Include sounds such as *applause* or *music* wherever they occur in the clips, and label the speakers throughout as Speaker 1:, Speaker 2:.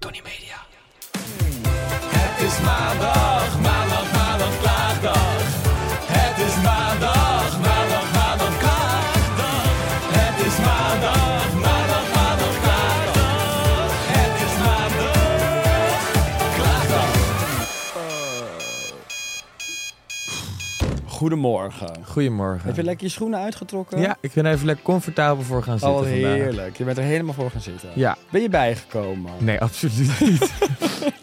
Speaker 1: Tony Media. Het is maandag, maandag, maandag, klaagdag. Het is maandag, maandag, maandag, klaagdag. Het is maandag, maandag, maandag, klaagdag. Het is maandag, klaagdag.
Speaker 2: Goedemorgen.
Speaker 3: Goedemorgen.
Speaker 2: Heb je lekker je schoenen uitgetrokken?
Speaker 3: Ja, ik ben even lekker comfortabel voor gaan
Speaker 2: Oh,
Speaker 3: zitten
Speaker 2: wat
Speaker 3: vandaag.
Speaker 2: heerlijk. Je bent er helemaal voor gaan zitten.
Speaker 3: Ja.
Speaker 2: Ben je bijgekomen?
Speaker 3: Nee,
Speaker 2: *laughs*
Speaker 3: absoluut niet.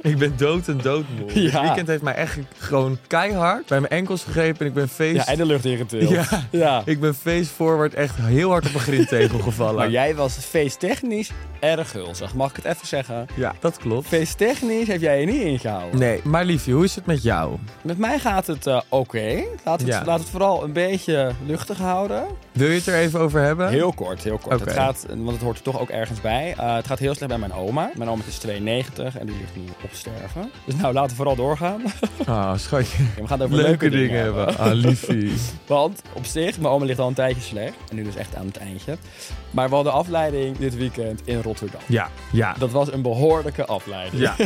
Speaker 3: ik ben dood en doodmoe. Het
Speaker 2: Ja.
Speaker 3: weekend heeft mij echt gewoon keihard bij mijn enkels gegrepen en ik ben face...
Speaker 2: Ja, en de lucht ingetild.
Speaker 3: *laughs* Ja.
Speaker 2: ja.
Speaker 3: Ik ben face forward echt heel hard op een grindtegel gevallen.
Speaker 2: *laughs* Maar jij was feesttechnisch erg gulzig, mag ik het even zeggen?
Speaker 3: Ja, dat klopt.
Speaker 2: Feesttechnisch heb jij je niet ingehouden.
Speaker 3: Nee, maar liefje, hoe is het met jou?
Speaker 2: Met mij gaat het eh, oké. Laat, het-
Speaker 3: Ja.
Speaker 2: laat het vooral een beetje luchtig houden.
Speaker 3: Wil je het er even over hebben?
Speaker 2: Heel kort, heel kort.
Speaker 3: Oké.
Speaker 2: Het gaat, want het hoort er toch ook ergens bij. Eh, het gaat heel slecht bij mijn oma. Mijn oma is 92 en die ligt nu op sterven. Dus nou, laten we vooral doorgaan. *laughs*
Speaker 3: Oh, schatje.
Speaker 2: We gaan het over
Speaker 3: Leuke, dingen, hebben. Ah, liefie.
Speaker 2: *laughs* Want op zich, mijn oma ligt al een tijdje slecht. En nu dus echt aan het eindje. Maar we hadden afleiding dit weekend in Rotterdam.
Speaker 3: Ja, ja,
Speaker 2: Dat was een behoorlijke afleiding.
Speaker 3: ja. *laughs*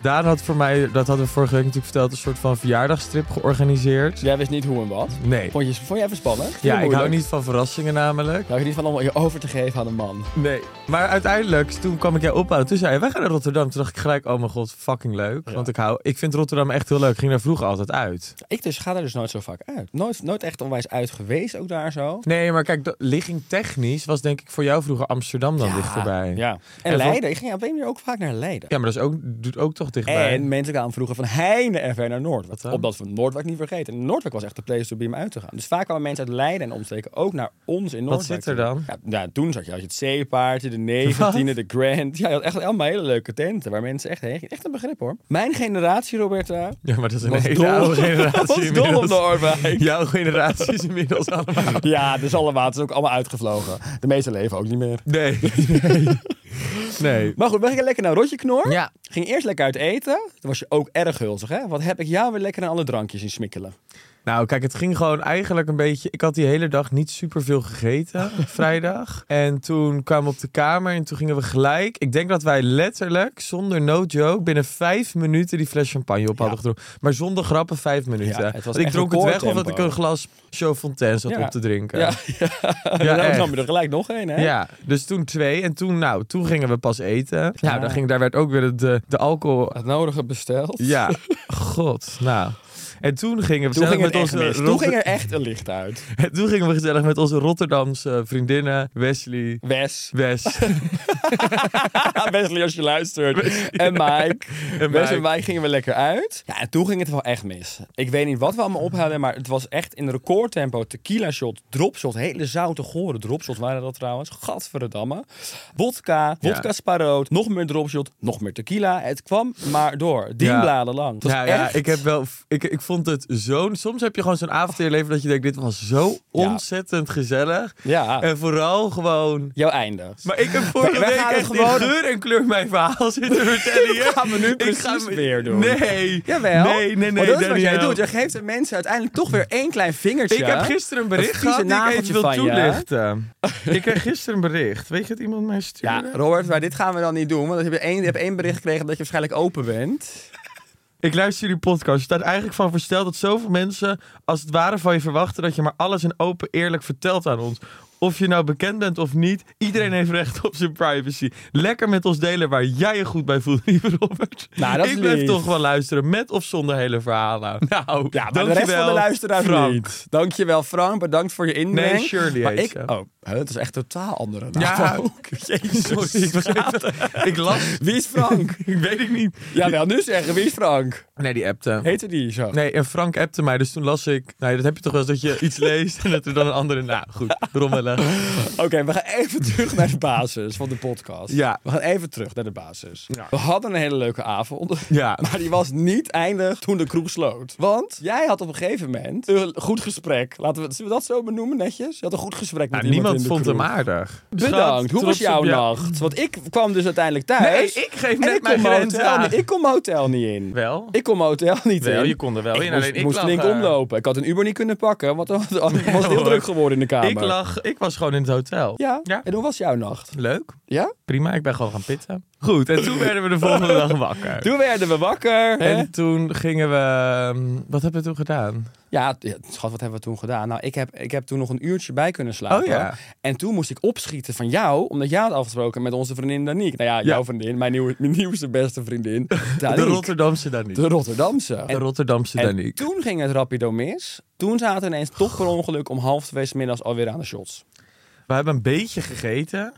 Speaker 3: Daan had voor mij, dat hadden we vorige week natuurlijk verteld, een soort van verjaardagstrip georganiseerd.
Speaker 2: Jij wist niet hoe en wat.
Speaker 3: Nee.
Speaker 2: Vond je, vond je even spannend? Vond je
Speaker 3: Ja, ik hou
Speaker 2: moeilijk?
Speaker 3: niet van verrassingen namelijk.
Speaker 2: Nou, ik niet van allemaal je over te geven aan een man.
Speaker 3: Nee, maar uiteindelijk, toen kwam ik jou ophalen. Toen zei je, wij gaan naar Rotterdam. Toen dacht ik gelijk, oh mijn god, fucking leuk. Want ik, hou, ik vind Rotterdam echt heel leuk. Ik ging daar vroeger altijd uit.
Speaker 2: Ik dus ga daar dus nooit zo vaak uit. Nooit, nooit echt onwijs uit geweest, ook daar zo.
Speaker 3: Nee, maar kijk, dat- ligging technisch was denk ik voor jou vroeger Amsterdam dan dichterbij.
Speaker 2: Ja. En,
Speaker 3: van-
Speaker 2: Leiden. Ik ging op een manier ook vaak naar Leiden.
Speaker 3: Ja, maar dat is ook, doet ook toch dichtbij.
Speaker 2: En mensen kwamen vroeger van Heine en ver naar Noord.
Speaker 3: dan?
Speaker 2: Op dat van Noordwijk niet vergeten. En Noordwijk was echt de place to be om uit te gaan. Dus vaak kwamen mensen uit Leiden en omstreken ook naar ons in Noordwijk.
Speaker 3: zit er dan?
Speaker 2: Ja, nou, toen zat je, had je het zeepaardje, de negentiende, de Grand. Ja, je had echt allemaal hele leuke tenten waar mensen echt heen gingen. Echt een begrip hoor. Mijn generatie, eh.
Speaker 3: *laughs*
Speaker 2: Roberta,
Speaker 3: Ja, maar dat is een
Speaker 2: was
Speaker 3: hele
Speaker 2: dol-
Speaker 3: *laughs* oude
Speaker 2: was
Speaker 3: generatie
Speaker 2: dol op
Speaker 3: inmiddels.
Speaker 2: Noordwijk. Ja.
Speaker 3: Jouw generatie is inmiddels allemaal... *laughs*
Speaker 2: Ja, dus allemaal. Het is ook allemaal uitgevlogen. De meeste leven ook niet meer.
Speaker 3: Nee. *laughs* Nee. nee.
Speaker 2: Maar goed, we gingen lekker naar Rotje Knor.
Speaker 3: Ja.
Speaker 2: Ging eerst lekker uit eten. Toen was je ook erg gulzig, hè? Wat heb ik jou weer lekker aan alle drankjes in smikkelen.
Speaker 3: Nou, kijk, het ging gewoon eigenlijk een beetje. Ik had die hele dag niet super veel
Speaker 2: *laughs*
Speaker 3: gegeten, vrijdag. En toen kwamen we op de kamer en toen gingen we gelijk. Ik denk dat wij letterlijk, zonder no joke, binnen vijf minuten die fles champagne op hadden gedronken. Maar zonder grappen vijf minuten.
Speaker 2: het was
Speaker 3: Want ik
Speaker 2: echt
Speaker 3: dronk het weg of dat
Speaker 2: recordtempo.
Speaker 3: ik een glas Show Fontaine zat
Speaker 2: Ja.
Speaker 3: op te drinken.
Speaker 2: Ja, *laughs* ja. dan
Speaker 3: echt.
Speaker 2: nam je er gelijk nog een, hè?
Speaker 3: Ja, dus toen twee en toen, nou, toen gingen we pas eten.
Speaker 2: Ja.
Speaker 3: Nou, dan ging, daar werd ook weer de, de alcohol
Speaker 2: Het nodige besteld.
Speaker 3: ja, *laughs* god. Nou. En toen gingen we
Speaker 2: Toen
Speaker 3: gezellig
Speaker 2: ging, het
Speaker 3: met
Speaker 2: echt
Speaker 3: onze
Speaker 2: mis. Toen
Speaker 3: Rotter-
Speaker 2: ging er echt een licht uit.
Speaker 3: En *laughs* toen gingen we gezellig met onze Rotterdamse vriendinnen, Wesley,
Speaker 2: *laughs*
Speaker 3: *laughs*
Speaker 2: Wes. *laughs*
Speaker 3: Wes.
Speaker 2: Wesley, als je luistert.
Speaker 3: *laughs*
Speaker 2: En Mike.
Speaker 3: En
Speaker 2: Wes en
Speaker 3: Mike.
Speaker 2: Mike gingen we lekker uit. Ja, en toen ging het wel echt mis. Ik weet niet wat we allemaal ophouden, maar het was echt in recordtempo. Tequila shot, dropshot, hele zoute, gore dropshots waren dat trouwens. Gadverdamme. Wodka,
Speaker 3: Ja.
Speaker 2: wodka sparoot, nog meer dropshot, nog meer tequila. Het kwam maar door. Dien
Speaker 3: Ja.
Speaker 2: bladen lang. Het was
Speaker 3: Ja, Nou ja,
Speaker 2: echt-
Speaker 3: ik heb wel. Ik, ik vond het zo'n. Soms heb je gewoon zo'n avond in je leven dat je denkt: dit was zo ontzettend gezellig.
Speaker 2: Ja.
Speaker 3: En vooral gewoon.
Speaker 2: Jouw einde.
Speaker 3: Maar ik heb vorige
Speaker 2: wij
Speaker 3: week
Speaker 2: gaan
Speaker 3: echt
Speaker 2: het gewoon-
Speaker 3: in geur en kleur mijn verhaal
Speaker 2: *laughs*
Speaker 3: zitten vertellen. hier.
Speaker 2: Dat gaan we nu
Speaker 3: Ik
Speaker 2: precies
Speaker 3: ga me-
Speaker 2: weer doen.
Speaker 3: Nee.
Speaker 2: Jawel.
Speaker 3: Nee, nee, nee.
Speaker 2: Want dat is wat jij
Speaker 3: Daniel.
Speaker 2: doet. Je geeft de mensen uiteindelijk toch weer één klein vingertje.
Speaker 3: Ik heb gisteren een
Speaker 2: Een
Speaker 3: bericht
Speaker 2: vieze
Speaker 3: gehad die ik
Speaker 2: nageltje
Speaker 3: even wil
Speaker 2: van je, hè?
Speaker 3: *laughs* toelichten. ik kreeg gisteren een bericht. Weet je dat iemand mij
Speaker 2: Ja,
Speaker 3: stuurde?
Speaker 2: Robert, maar dit gaan we dan niet doen. Want je hebt één, je hebt één bericht gekregen dat je waarschijnlijk open bent.
Speaker 3: Ik luister jullie podcast. Je staat eigenlijk van versteld dat zoveel mensen als het ware van je verwachten dat je maar alles in open eerlijk vertelt aan ons. Of je nou bekend bent of niet, iedereen heeft recht op zijn privacy. Lekker met ons delen waar jij je goed bij voelt, *laughs* lieve Robert.
Speaker 2: Nou, dat is
Speaker 3: ik blijf
Speaker 2: lief.
Speaker 3: toch wel luisteren, met of zonder hele verhalen. *laughs* Nou,
Speaker 2: Ja, maar de
Speaker 3: dankjewel,
Speaker 2: rest van de luisteraars
Speaker 3: Frank.
Speaker 2: niet. Dankjewel Frank, bedankt voor je inbreng.
Speaker 3: Nee, Shirley
Speaker 2: maar
Speaker 3: heet
Speaker 2: ik,
Speaker 3: ze.
Speaker 2: Oh, hè, dat is echt een totaal andere naam.
Speaker 3: Ja.
Speaker 2: ook. *laughs* Jezus.
Speaker 3: *laughs* Sorry, ik, was
Speaker 2: *laughs*
Speaker 3: even- ik las.
Speaker 2: Wie is
Speaker 3: *laughs*
Speaker 2: Frank?
Speaker 3: ik weet het niet.
Speaker 2: ja, wel nu zeggen, wie is Frank?
Speaker 3: Nee, die appte.
Speaker 2: Heette die zo?
Speaker 3: Nee, en Frank appte mij, dus toen las ik... Nou, dat heb je toch wel eens, dat je
Speaker 2: *laughs*
Speaker 3: iets leest en dat er dan een andere... Nou, goed, Nou, rommelen.
Speaker 2: Oké, we gaan even *laughs* terug naar de basis van de podcast.
Speaker 3: Ja.
Speaker 2: We gaan even terug naar de basis.
Speaker 3: Ja.
Speaker 2: We hadden een hele leuke avond.
Speaker 3: Ja.
Speaker 2: *laughs* Maar die was niet eindig toen de kroeg sloot. Want jij had op een gegeven moment een goed gesprek. Laten we, zullen we dat zo benoemen netjes? Je had een goed gesprek met
Speaker 3: Nou,
Speaker 2: iemand
Speaker 3: niemand
Speaker 2: in de
Speaker 3: vond hem
Speaker 2: kroeg.
Speaker 3: aardig.
Speaker 2: Bedankt. Hoe was jouw
Speaker 3: naam?
Speaker 2: nacht? Want ik kwam dus uiteindelijk thuis.
Speaker 3: Nee, ik geef
Speaker 2: en
Speaker 3: net
Speaker 2: ik
Speaker 3: mijn
Speaker 2: kon
Speaker 3: grens
Speaker 2: hotel
Speaker 3: aan.
Speaker 2: niet- Ik kon mijn hotel niet in.
Speaker 3: Wel?
Speaker 2: Ik kon mijn hotel niet
Speaker 3: Wel,
Speaker 2: in.
Speaker 3: je kon er
Speaker 2: ik
Speaker 3: wel in,
Speaker 2: Moest,
Speaker 3: alleen ik
Speaker 2: moest
Speaker 3: lag
Speaker 2: flink
Speaker 3: er.
Speaker 2: omlopen. Ik had een Uber niet kunnen pakken, want dan was het heel
Speaker 3: hoor.
Speaker 2: druk geworden in de kamer.
Speaker 3: Ik lag, ik was gewoon in het hotel.
Speaker 2: Ja?
Speaker 3: Ja.
Speaker 2: En hoe was jouw nacht?
Speaker 3: Leuk,
Speaker 2: Ja?
Speaker 3: prima, ik ben gewoon gaan pitten. Goed, en *laughs* toen werden we de volgende dag wakker.
Speaker 2: Toen werden we wakker. hè?
Speaker 3: En toen gingen we... ehm, Wat hebben we toen gedaan?
Speaker 2: Ja, t- ja, schat, wat hebben we toen gedaan? Nou, ik heb, ik heb toen nog een uurtje bij kunnen slapen.
Speaker 3: Oh, ja.
Speaker 2: En toen moest ik opschieten van jou, omdat jij had afgesproken met onze vriendin Danique. Nou ja, jouw vriendin, mijn, nieuwe, mijn nieuwste beste vriendin. Danique.
Speaker 3: *laughs* De Rotterdamse dan niet.
Speaker 2: De Rotterdamse.
Speaker 3: De
Speaker 2: En,
Speaker 3: Rotterdamse
Speaker 2: en
Speaker 3: dan niet.
Speaker 2: toen ging het rapido mis. Toen zaten ineens toch per ongeluk om half twee 's middags alweer aan de shots.
Speaker 3: We hebben een beetje gegeten.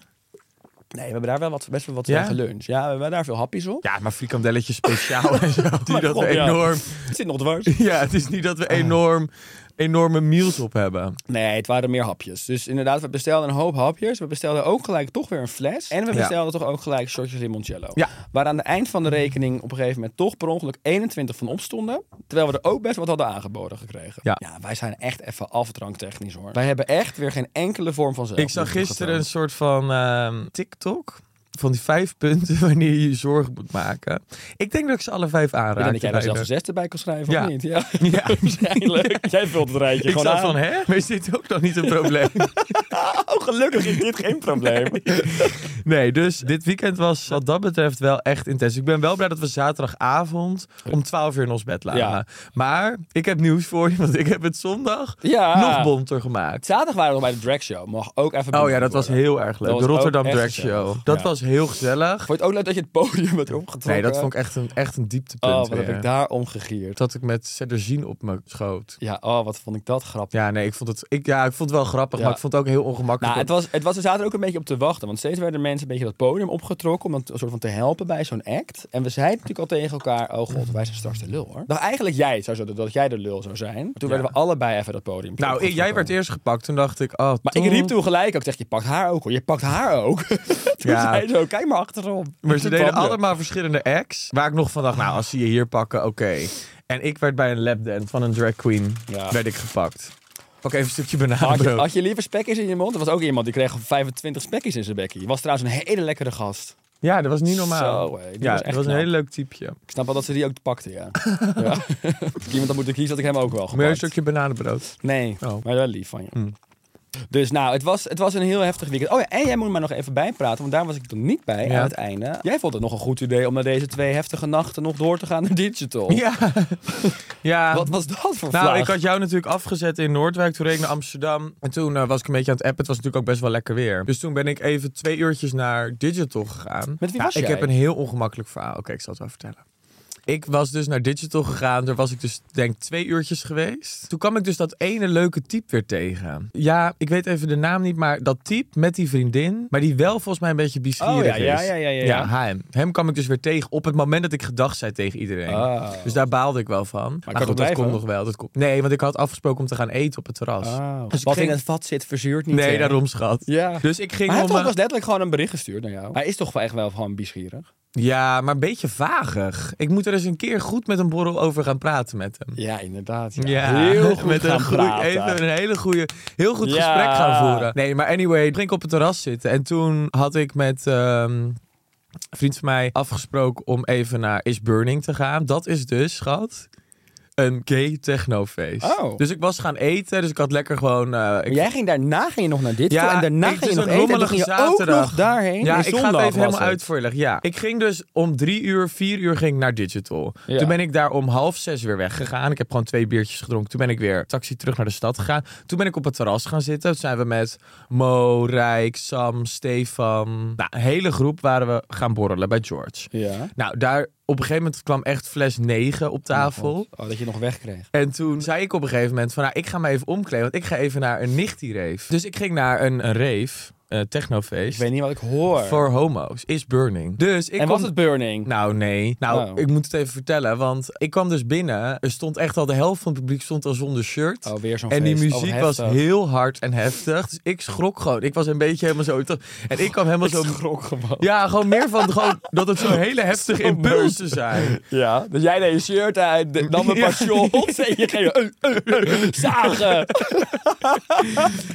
Speaker 2: Nee, we hebben daar wel wat, best wel wat
Speaker 3: Ja?
Speaker 2: van geluncht. Ja, we hebben daar veel hapjes op.
Speaker 3: Ja, maar frikandelletjes
Speaker 2: *laughs*
Speaker 3: speciaal en zo. Die dat
Speaker 2: God,
Speaker 3: we
Speaker 2: ja.
Speaker 3: enorm...
Speaker 2: Het zit nog
Speaker 3: *laughs*
Speaker 2: dwars.
Speaker 3: Ja, het is niet dat
Speaker 2: Ah.
Speaker 3: we enorm, enorme meals op hebben.
Speaker 2: Nee, het waren meer hapjes. Dus inderdaad, we bestelden een hoop hapjes. We bestelden ook gelijk toch weer een fles. En we
Speaker 3: Ja.
Speaker 2: bestelden toch ook gelijk shotjes limoncello.
Speaker 3: Ja.
Speaker 2: Waar aan het eind van de rekening op een gegeven moment toch per ongeluk 21 van opstonden. Terwijl we er ook best wat hadden aangeboden gekregen.
Speaker 3: Ja.
Speaker 2: wij zijn echt even afdranktechnisch hoor. Wij hebben echt weer geen enkele vorm van zelf.
Speaker 3: Ik zag gisteren een soort van ehm, TikTok van die vijf *laughs* punten wanneer je je zorgen moet maken. Ik denk dat ik ze alle vijf
Speaker 2: Ik
Speaker 3: aanraak.
Speaker 2: denk dat jij daar zelfs een
Speaker 3: bijna.
Speaker 2: zesde bij kan schrijven,
Speaker 3: Ja.
Speaker 2: of niet? Ja,
Speaker 3: *laughs*
Speaker 2: *laughs*
Speaker 3: Ja.
Speaker 2: waarschijnlijk. Jij vult het rijtje
Speaker 3: Ik
Speaker 2: gewoon
Speaker 3: zat
Speaker 2: aan.
Speaker 3: van, hè? Maar is dit ook dan niet een probleem?
Speaker 2: *laughs* Oh, gelukkig is dit geen probleem.
Speaker 3: Nee, dus dit weekend was wat dat betreft wel echt intens. Ik ben wel blij dat we zaterdagavond om 12 uur in ons bed lagen.
Speaker 2: Ja.
Speaker 3: Maar ik heb nieuws voor je, want ik heb het zondag
Speaker 2: Ja.
Speaker 3: nog bonter
Speaker 2: *laughs*
Speaker 3: gemaakt.
Speaker 2: Zaterdag waren we nog bij de drag show. Mag ook even
Speaker 3: Oh ja,
Speaker 2: benoemd
Speaker 3: dat was
Speaker 2: worden.
Speaker 3: heel erg leuk.
Speaker 2: Dat
Speaker 3: De
Speaker 2: was ook
Speaker 3: Rotterdam
Speaker 2: echt
Speaker 3: Drag
Speaker 2: gezellig.
Speaker 3: Show. Dat
Speaker 2: Ja.
Speaker 3: was heel gezellig.
Speaker 2: Vond je het ook leuk dat je het podium werd opgetrokken?
Speaker 3: Nee, dat vond ik echt een, echt een dieptepunt
Speaker 2: Oh, wat heb
Speaker 3: weer.
Speaker 2: ik daar omgegierd.
Speaker 3: dat ik met Cederzien op me schoot.
Speaker 2: Ja, oh, wat vond ik dat grappig.
Speaker 3: Ja, nee, ik vond het, ik, ja, ik vond het wel grappig,
Speaker 2: Ja.
Speaker 3: maar ik vond het ook heel ongemakkelijk.
Speaker 2: Nou, het was, het was, we zaten er ook een beetje op te wachten. Want steeds werden mensen een beetje dat podium opgetrokken. Om dan een soort van te helpen bij zo'n act. En we zeiden natuurlijk al tegen elkaar: Oh god, wij zijn straks de lul hoor. Nou, eigenlijk jij zou zo, dat jij de lul zou zijn. Maar toen werden we allebei even dat podium.
Speaker 3: nou ik-
Speaker 2: opgetrokken.
Speaker 3: jij werd eerst gepakt, toen dacht ik, oh,
Speaker 2: Maar ik riep toen gelijk ook: zeg, Je pakt haar ook hoor. Je pakt haar ook. *laughs* toen
Speaker 3: Ja.
Speaker 2: zei zo: Kijk maar achterom.
Speaker 3: Maar ze deden
Speaker 2: Tanden.
Speaker 3: allemaal verschillende acts, waar ik nog van dacht, nou, als ze je hier pakken, oké. En ik werd bij een lapdance van een drag queen,
Speaker 2: Ja.
Speaker 3: werd ik gepakt. Ook even een stukje
Speaker 2: Had je,
Speaker 3: benadrukt.
Speaker 2: had je liever spekkies in je mond? Er was ook iemand die kreeg 25 spekkies in zijn bekkie. Was trouwens een hele lekkere gast.
Speaker 3: Ja, dat was niet normaal.
Speaker 2: Zo, hé, die
Speaker 3: ja,
Speaker 2: was echt
Speaker 3: dat was een
Speaker 2: knap.
Speaker 3: heel leuk typeje.
Speaker 2: Ik snap wel dat ze die ook pakte,
Speaker 3: *laughs*
Speaker 2: ja. ja. *laughs* Iemand had moeten kiezen, had ik hem ook wel
Speaker 3: Meer een
Speaker 2: gepakt.
Speaker 3: stukje bananenbrood.
Speaker 2: Nee,
Speaker 3: Oh.
Speaker 2: maar wel lief van je. Dus nou, het was, het was een heel heftig weekend. Oh ja, en jij moet maar nog even bijpraten, want daar was ik toen niet bij
Speaker 3: Ja.
Speaker 2: aan het einde. Jij vond het nog een goed idee om na deze twee heftige nachten nog door te gaan naar digital.
Speaker 3: Ja. *laughs* ja.
Speaker 2: Wat was dat voor
Speaker 3: Nou,
Speaker 2: vlaag?
Speaker 3: ik had jou natuurlijk afgezet in Noordwijk. Toen reed ik naar Amsterdam. En toen eh, was ik een beetje aan het appen. Het was natuurlijk ook best wel lekker weer. Dus toen ben ik even twee uurtjes naar Digital gegaan.
Speaker 2: Met wie
Speaker 3: Ja,
Speaker 2: was
Speaker 3: Ik
Speaker 2: jij?
Speaker 3: heb een heel ongemakkelijk verhaal. Oké, ik zal het wel vertellen. Ik was dus naar Digital gegaan. Daar was ik dus, denk twee uurtjes geweest. Toen kwam ik dus dat ene leuke type weer tegen. Ja, ik weet even de naam niet, maar dat type met die vriendin. Maar die wel volgens mij een beetje
Speaker 2: Oh,
Speaker 3: bisgierig
Speaker 2: ja, ja,
Speaker 3: is.
Speaker 2: ja, ja, ja,
Speaker 3: ja,
Speaker 2: ja.
Speaker 3: hem. Hem kwam ik dus weer tegen op het moment dat ik gedag zei tegen iedereen.
Speaker 2: Ah.
Speaker 3: Dus daar baalde ik wel van. Maar,
Speaker 2: kan
Speaker 3: goed,
Speaker 2: het
Speaker 3: dat
Speaker 2: blijven?
Speaker 3: komt nog wel. Dat komt. Nee, want ik had afgesproken om te gaan eten op het terras.
Speaker 2: Oh.
Speaker 3: Dus ik
Speaker 2: Wat
Speaker 3: ging-
Speaker 2: in het vat zit, verzuurt niet.
Speaker 3: Nee,
Speaker 2: hè?
Speaker 3: daarom schat.
Speaker 2: Ja.
Speaker 3: Dus ik
Speaker 2: Maar
Speaker 3: ging
Speaker 2: hij
Speaker 3: om...
Speaker 2: heeft toch
Speaker 3: eh,
Speaker 2: was letterlijk gewoon een bericht gestuurd naar jou. Hij is toch wel echt wel gewoon biesgierig?
Speaker 3: Ja, maar een beetje vagig. Ik moet er eens een keer goed met een borrel over gaan praten met hem.
Speaker 2: Ja, inderdaad. Ja.
Speaker 3: Ja,
Speaker 2: Heel goed
Speaker 3: met
Speaker 2: gaan
Speaker 3: een goeie-
Speaker 2: praten.
Speaker 3: Even een hele goede, heel goed
Speaker 2: Ja.
Speaker 3: gesprek gaan voeren. Nee, maar anyway, toen ging ik op het terras zitten. En toen had ik met ehm, een vriend van mij afgesproken om even naar Is Burning te gaan. Dat is dus, schat, een gay technofeest.
Speaker 2: Oh.
Speaker 3: Dus ik was gaan eten, dus ik had lekker gewoon... eh, ik-
Speaker 2: Maar jij ging daarna ging je nog naar dit
Speaker 3: Ja,
Speaker 2: toe en daarna
Speaker 3: ik-
Speaker 2: ging je
Speaker 3: dus
Speaker 2: nog
Speaker 3: een
Speaker 2: eten en toen ging
Speaker 3: rommelige
Speaker 2: je ook
Speaker 3: zaterdag.
Speaker 2: nog daarheen.
Speaker 3: Ja,
Speaker 2: Nee,
Speaker 3: ik ga
Speaker 2: zondag
Speaker 3: het even
Speaker 2: was
Speaker 3: helemaal uit voor je leggen. Ja, ik ging dus om drie uur, vier uur ging ik naar Digital.
Speaker 2: Ja.
Speaker 3: Toen ben ik daar om half zes weer weggegaan. Ik heb gewoon twee biertjes gedronken. Toen ben ik weer taxi terug naar de stad gegaan. Toen ben ik op het terras gaan zitten. Toen zijn we met Mo, Rijk, Sam, Stefan. Nou, een hele groep waren we gaan borrelen bij George.
Speaker 2: Ja.
Speaker 3: Nou, daar op een gegeven moment kwam echt fles 9 op tafel.
Speaker 2: Oh, dat je nog wegkreeg.
Speaker 3: En toen zei ik op een gegeven moment van, nou, ik ga me even omkleden, want ik ga even naar een nichtie-rave. Dus ik ging naar een, een rave, een technofeest.
Speaker 2: Ik weet niet wat ik hoor.
Speaker 3: Voor homo's is burning. Dus ik
Speaker 2: en
Speaker 3: kwam...
Speaker 2: was het burning?
Speaker 3: Nou, nee. Nou,
Speaker 2: Oh.
Speaker 3: ik moet het even vertellen, want ik kwam dus binnen. Er stond echt al de helft van het publiek stond al zonder shirt.
Speaker 2: Oh, weer zo'n
Speaker 3: En die
Speaker 2: feest. Oh,
Speaker 3: muziek was
Speaker 2: heftig.
Speaker 3: heel hard en heftig. Dus ik schrok gewoon. Ik was een beetje helemaal zo... En ik kwam
Speaker 2: *laughs*
Speaker 3: helemaal zo...
Speaker 2: Grok gewoon.
Speaker 3: Ja, gewoon meer van gewoon dat het
Speaker 2: *laughs*
Speaker 3: zo'n hele heftige impulsen zijn.
Speaker 2: Ja, dus jij deed je shirt uit, de- nam een paar shots
Speaker 3: *laughs*
Speaker 2: en je ging eh, eh, eh, zagen.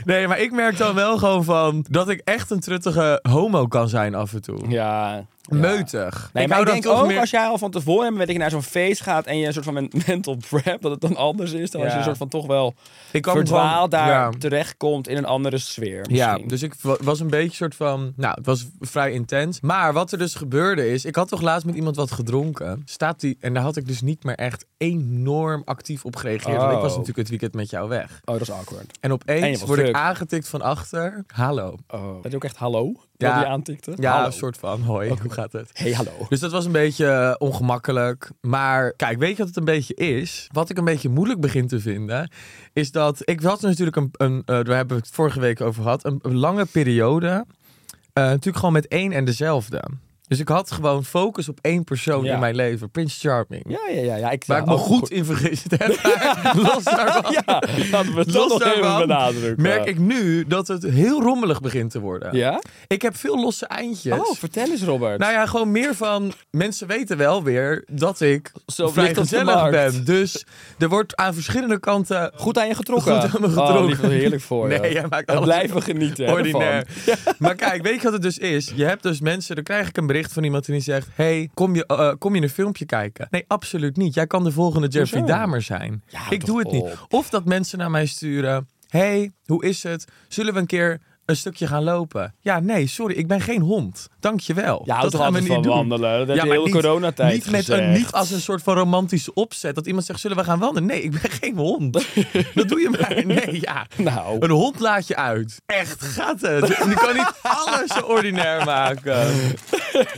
Speaker 3: Nee, maar ik merk dan wel gewoon van dat ik echt een truttige homo kan zijn af en toe.
Speaker 2: Ja.
Speaker 3: Meutig.
Speaker 2: Nee, maar ik
Speaker 3: hou
Speaker 2: denk
Speaker 3: dan toch
Speaker 2: ook
Speaker 3: meer-
Speaker 2: als jij al van tevoren weet dat je naar zo'n feest gaat en je een soort van men- *laughs* mental prep, dat het dan anders is dan als je
Speaker 3: Ja.
Speaker 2: een soort van toch wel
Speaker 3: ik kwam
Speaker 2: verdwaald
Speaker 3: gewoon-
Speaker 2: daar
Speaker 3: ja.
Speaker 2: terechtkomt in een andere sfeer.
Speaker 3: Ja,
Speaker 2: misschien.
Speaker 3: dus ik wa- was een beetje soort van... Nou, het was vrij intens. Maar wat er dus gebeurde is... Ik had toch laatst met iemand wat gedronken. Staat die... En daar had ik dus niet meer echt enorm actief op gereageerd. Want ik was
Speaker 2: Oh.
Speaker 3: natuurlijk het weekend met jou weg.
Speaker 2: Oh, dat is awkward.
Speaker 3: En
Speaker 2: En je
Speaker 3: opeens
Speaker 2: was
Speaker 3: word ik
Speaker 2: druk.
Speaker 3: aangetikt van achter. Hallo.
Speaker 2: Oh. Dat je ook echt hallo,
Speaker 3: Ja.
Speaker 2: dat je aantikte?
Speaker 3: Ja,
Speaker 2: hallo.
Speaker 3: een soort van. Hoi, hoe gaat het?
Speaker 2: Hey, hallo.
Speaker 3: Dus dat was een beetje eh, ongemakkelijk. Maar kijk, weet je wat het een beetje is? Wat ik een beetje moeilijk begin te vinden, is dat ik had natuurlijk een, een eh, daar hebben we het vorige week over gehad, een, een lange periode, eh, natuurlijk gewoon met één en dezelfde. Dus ik had gewoon focus op één persoon
Speaker 2: Ja.
Speaker 3: in mijn leven, Prince Charming.
Speaker 2: Ja, ja, ja. ja ik
Speaker 3: Waar
Speaker 2: ja,
Speaker 3: ik me
Speaker 2: ook
Speaker 3: goed in vergist heb. maar Los daarvan.
Speaker 2: *laughs* Ja, laten we het toch
Speaker 3: Los
Speaker 2: nog even
Speaker 3: daarvan
Speaker 2: benadrukken.
Speaker 3: merk ik nu dat het heel rommelig begint te worden.
Speaker 2: Ja?
Speaker 3: Ik heb veel losse eindjes.
Speaker 2: Oh, vertel eens, Robert.
Speaker 3: Nou ja, gewoon meer van mensen weten wel weer dat ik
Speaker 2: Zo
Speaker 3: vrij
Speaker 2: ligt het de
Speaker 3: gezellig
Speaker 2: markt.
Speaker 3: ben. Dus er wordt aan verschillende kanten
Speaker 2: goed aan je getrokken.
Speaker 3: Goed aan me getrokken.
Speaker 2: Oh, die voelt heerlijk voor je.
Speaker 3: *laughs* Nee, jij maakt
Speaker 2: En
Speaker 3: alles
Speaker 2: blijven genieten. hè,
Speaker 3: ordinair.
Speaker 2: *laughs* ervan.
Speaker 3: Maar kijk, weet je wat het dus is? Je hebt dus mensen, dan krijg ik een bericht van iemand en die zegt: Hey, kom je, eh, kom je een filmpje kijken? Nee, absoluut niet. Jij kan de volgende Jeffrey
Speaker 2: Hoezo?
Speaker 3: Dahmer zijn.
Speaker 2: Ja,
Speaker 3: ik
Speaker 2: toch
Speaker 3: doe het niet.
Speaker 2: op.
Speaker 3: Of dat mensen naar mij sturen: Hey, hoe is het? Zullen we een keer een stukje gaan lopen? Ja, nee, sorry, ik ben geen hond. Dankjewel.
Speaker 2: Ja, houdt toch
Speaker 3: dat gaan we
Speaker 2: altijd
Speaker 3: niet
Speaker 2: van
Speaker 3: doen.
Speaker 2: wandelen. Dat heb je
Speaker 3: maar
Speaker 2: heel de coronatijd
Speaker 3: niet, met een,
Speaker 2: gezegd.
Speaker 3: niet als een soort van romantische opzet. Dat iemand zegt, zullen we gaan wandelen? Nee, ik ben geen
Speaker 2: *laughs*
Speaker 3: hond. dat doe je maar. Nee, ja.
Speaker 2: Nou.
Speaker 3: Een hond laat je uit. Echt, gaat het? Je kan
Speaker 2: *laughs*
Speaker 3: niet alles zo ordinair maken.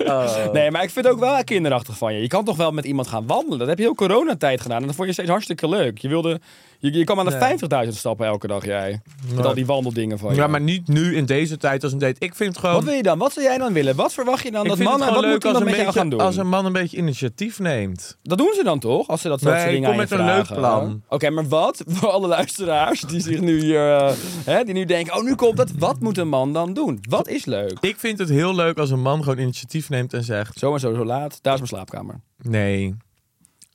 Speaker 3: Oh.
Speaker 2: Nee, maar ik vind het ook wel kinderachtig van je. Je kan toch wel met iemand gaan wandelen. Dat heb je heel coronatijd gedaan. En dat vond je steeds hartstikke leuk. Je, wilde, je, je kwam aan de 50.000 stappen elke dag, jij. Met al die wandeldingen van je.
Speaker 3: Ja, maar niet nu in deze tijd als een date. Ik vind het gewoon...
Speaker 2: Wat wil je dan? Wat zou jij dan willen? Wat verwacht je dan
Speaker 3: ik
Speaker 2: dat
Speaker 3: vind het
Speaker 2: mannen...
Speaker 3: gewoon
Speaker 2: Wat
Speaker 3: leuk
Speaker 2: moeten
Speaker 3: als
Speaker 2: dan
Speaker 3: een,
Speaker 2: met jou
Speaker 3: beetje,
Speaker 2: gaan doen?
Speaker 3: als een man een beetje initiatief neemt.
Speaker 2: Dat doen ze dan toch? Als ze dat soort
Speaker 3: Nee,
Speaker 2: dingen
Speaker 3: kom
Speaker 2: aan je
Speaker 3: met een leuk
Speaker 2: vragen,
Speaker 3: plan.
Speaker 2: hè? Oké, maar wat *laughs* voor alle luisteraars die zich nu hier, eh, hè, die nu denken, oh nu komt dat. Wat moet een man dan doen? Wat is leuk?
Speaker 3: Ik vind het heel leuk als een man gewoon initiatief neemt en zegt...
Speaker 2: Zo en zo, zo laat. Daar is mijn slaapkamer.
Speaker 3: Nee.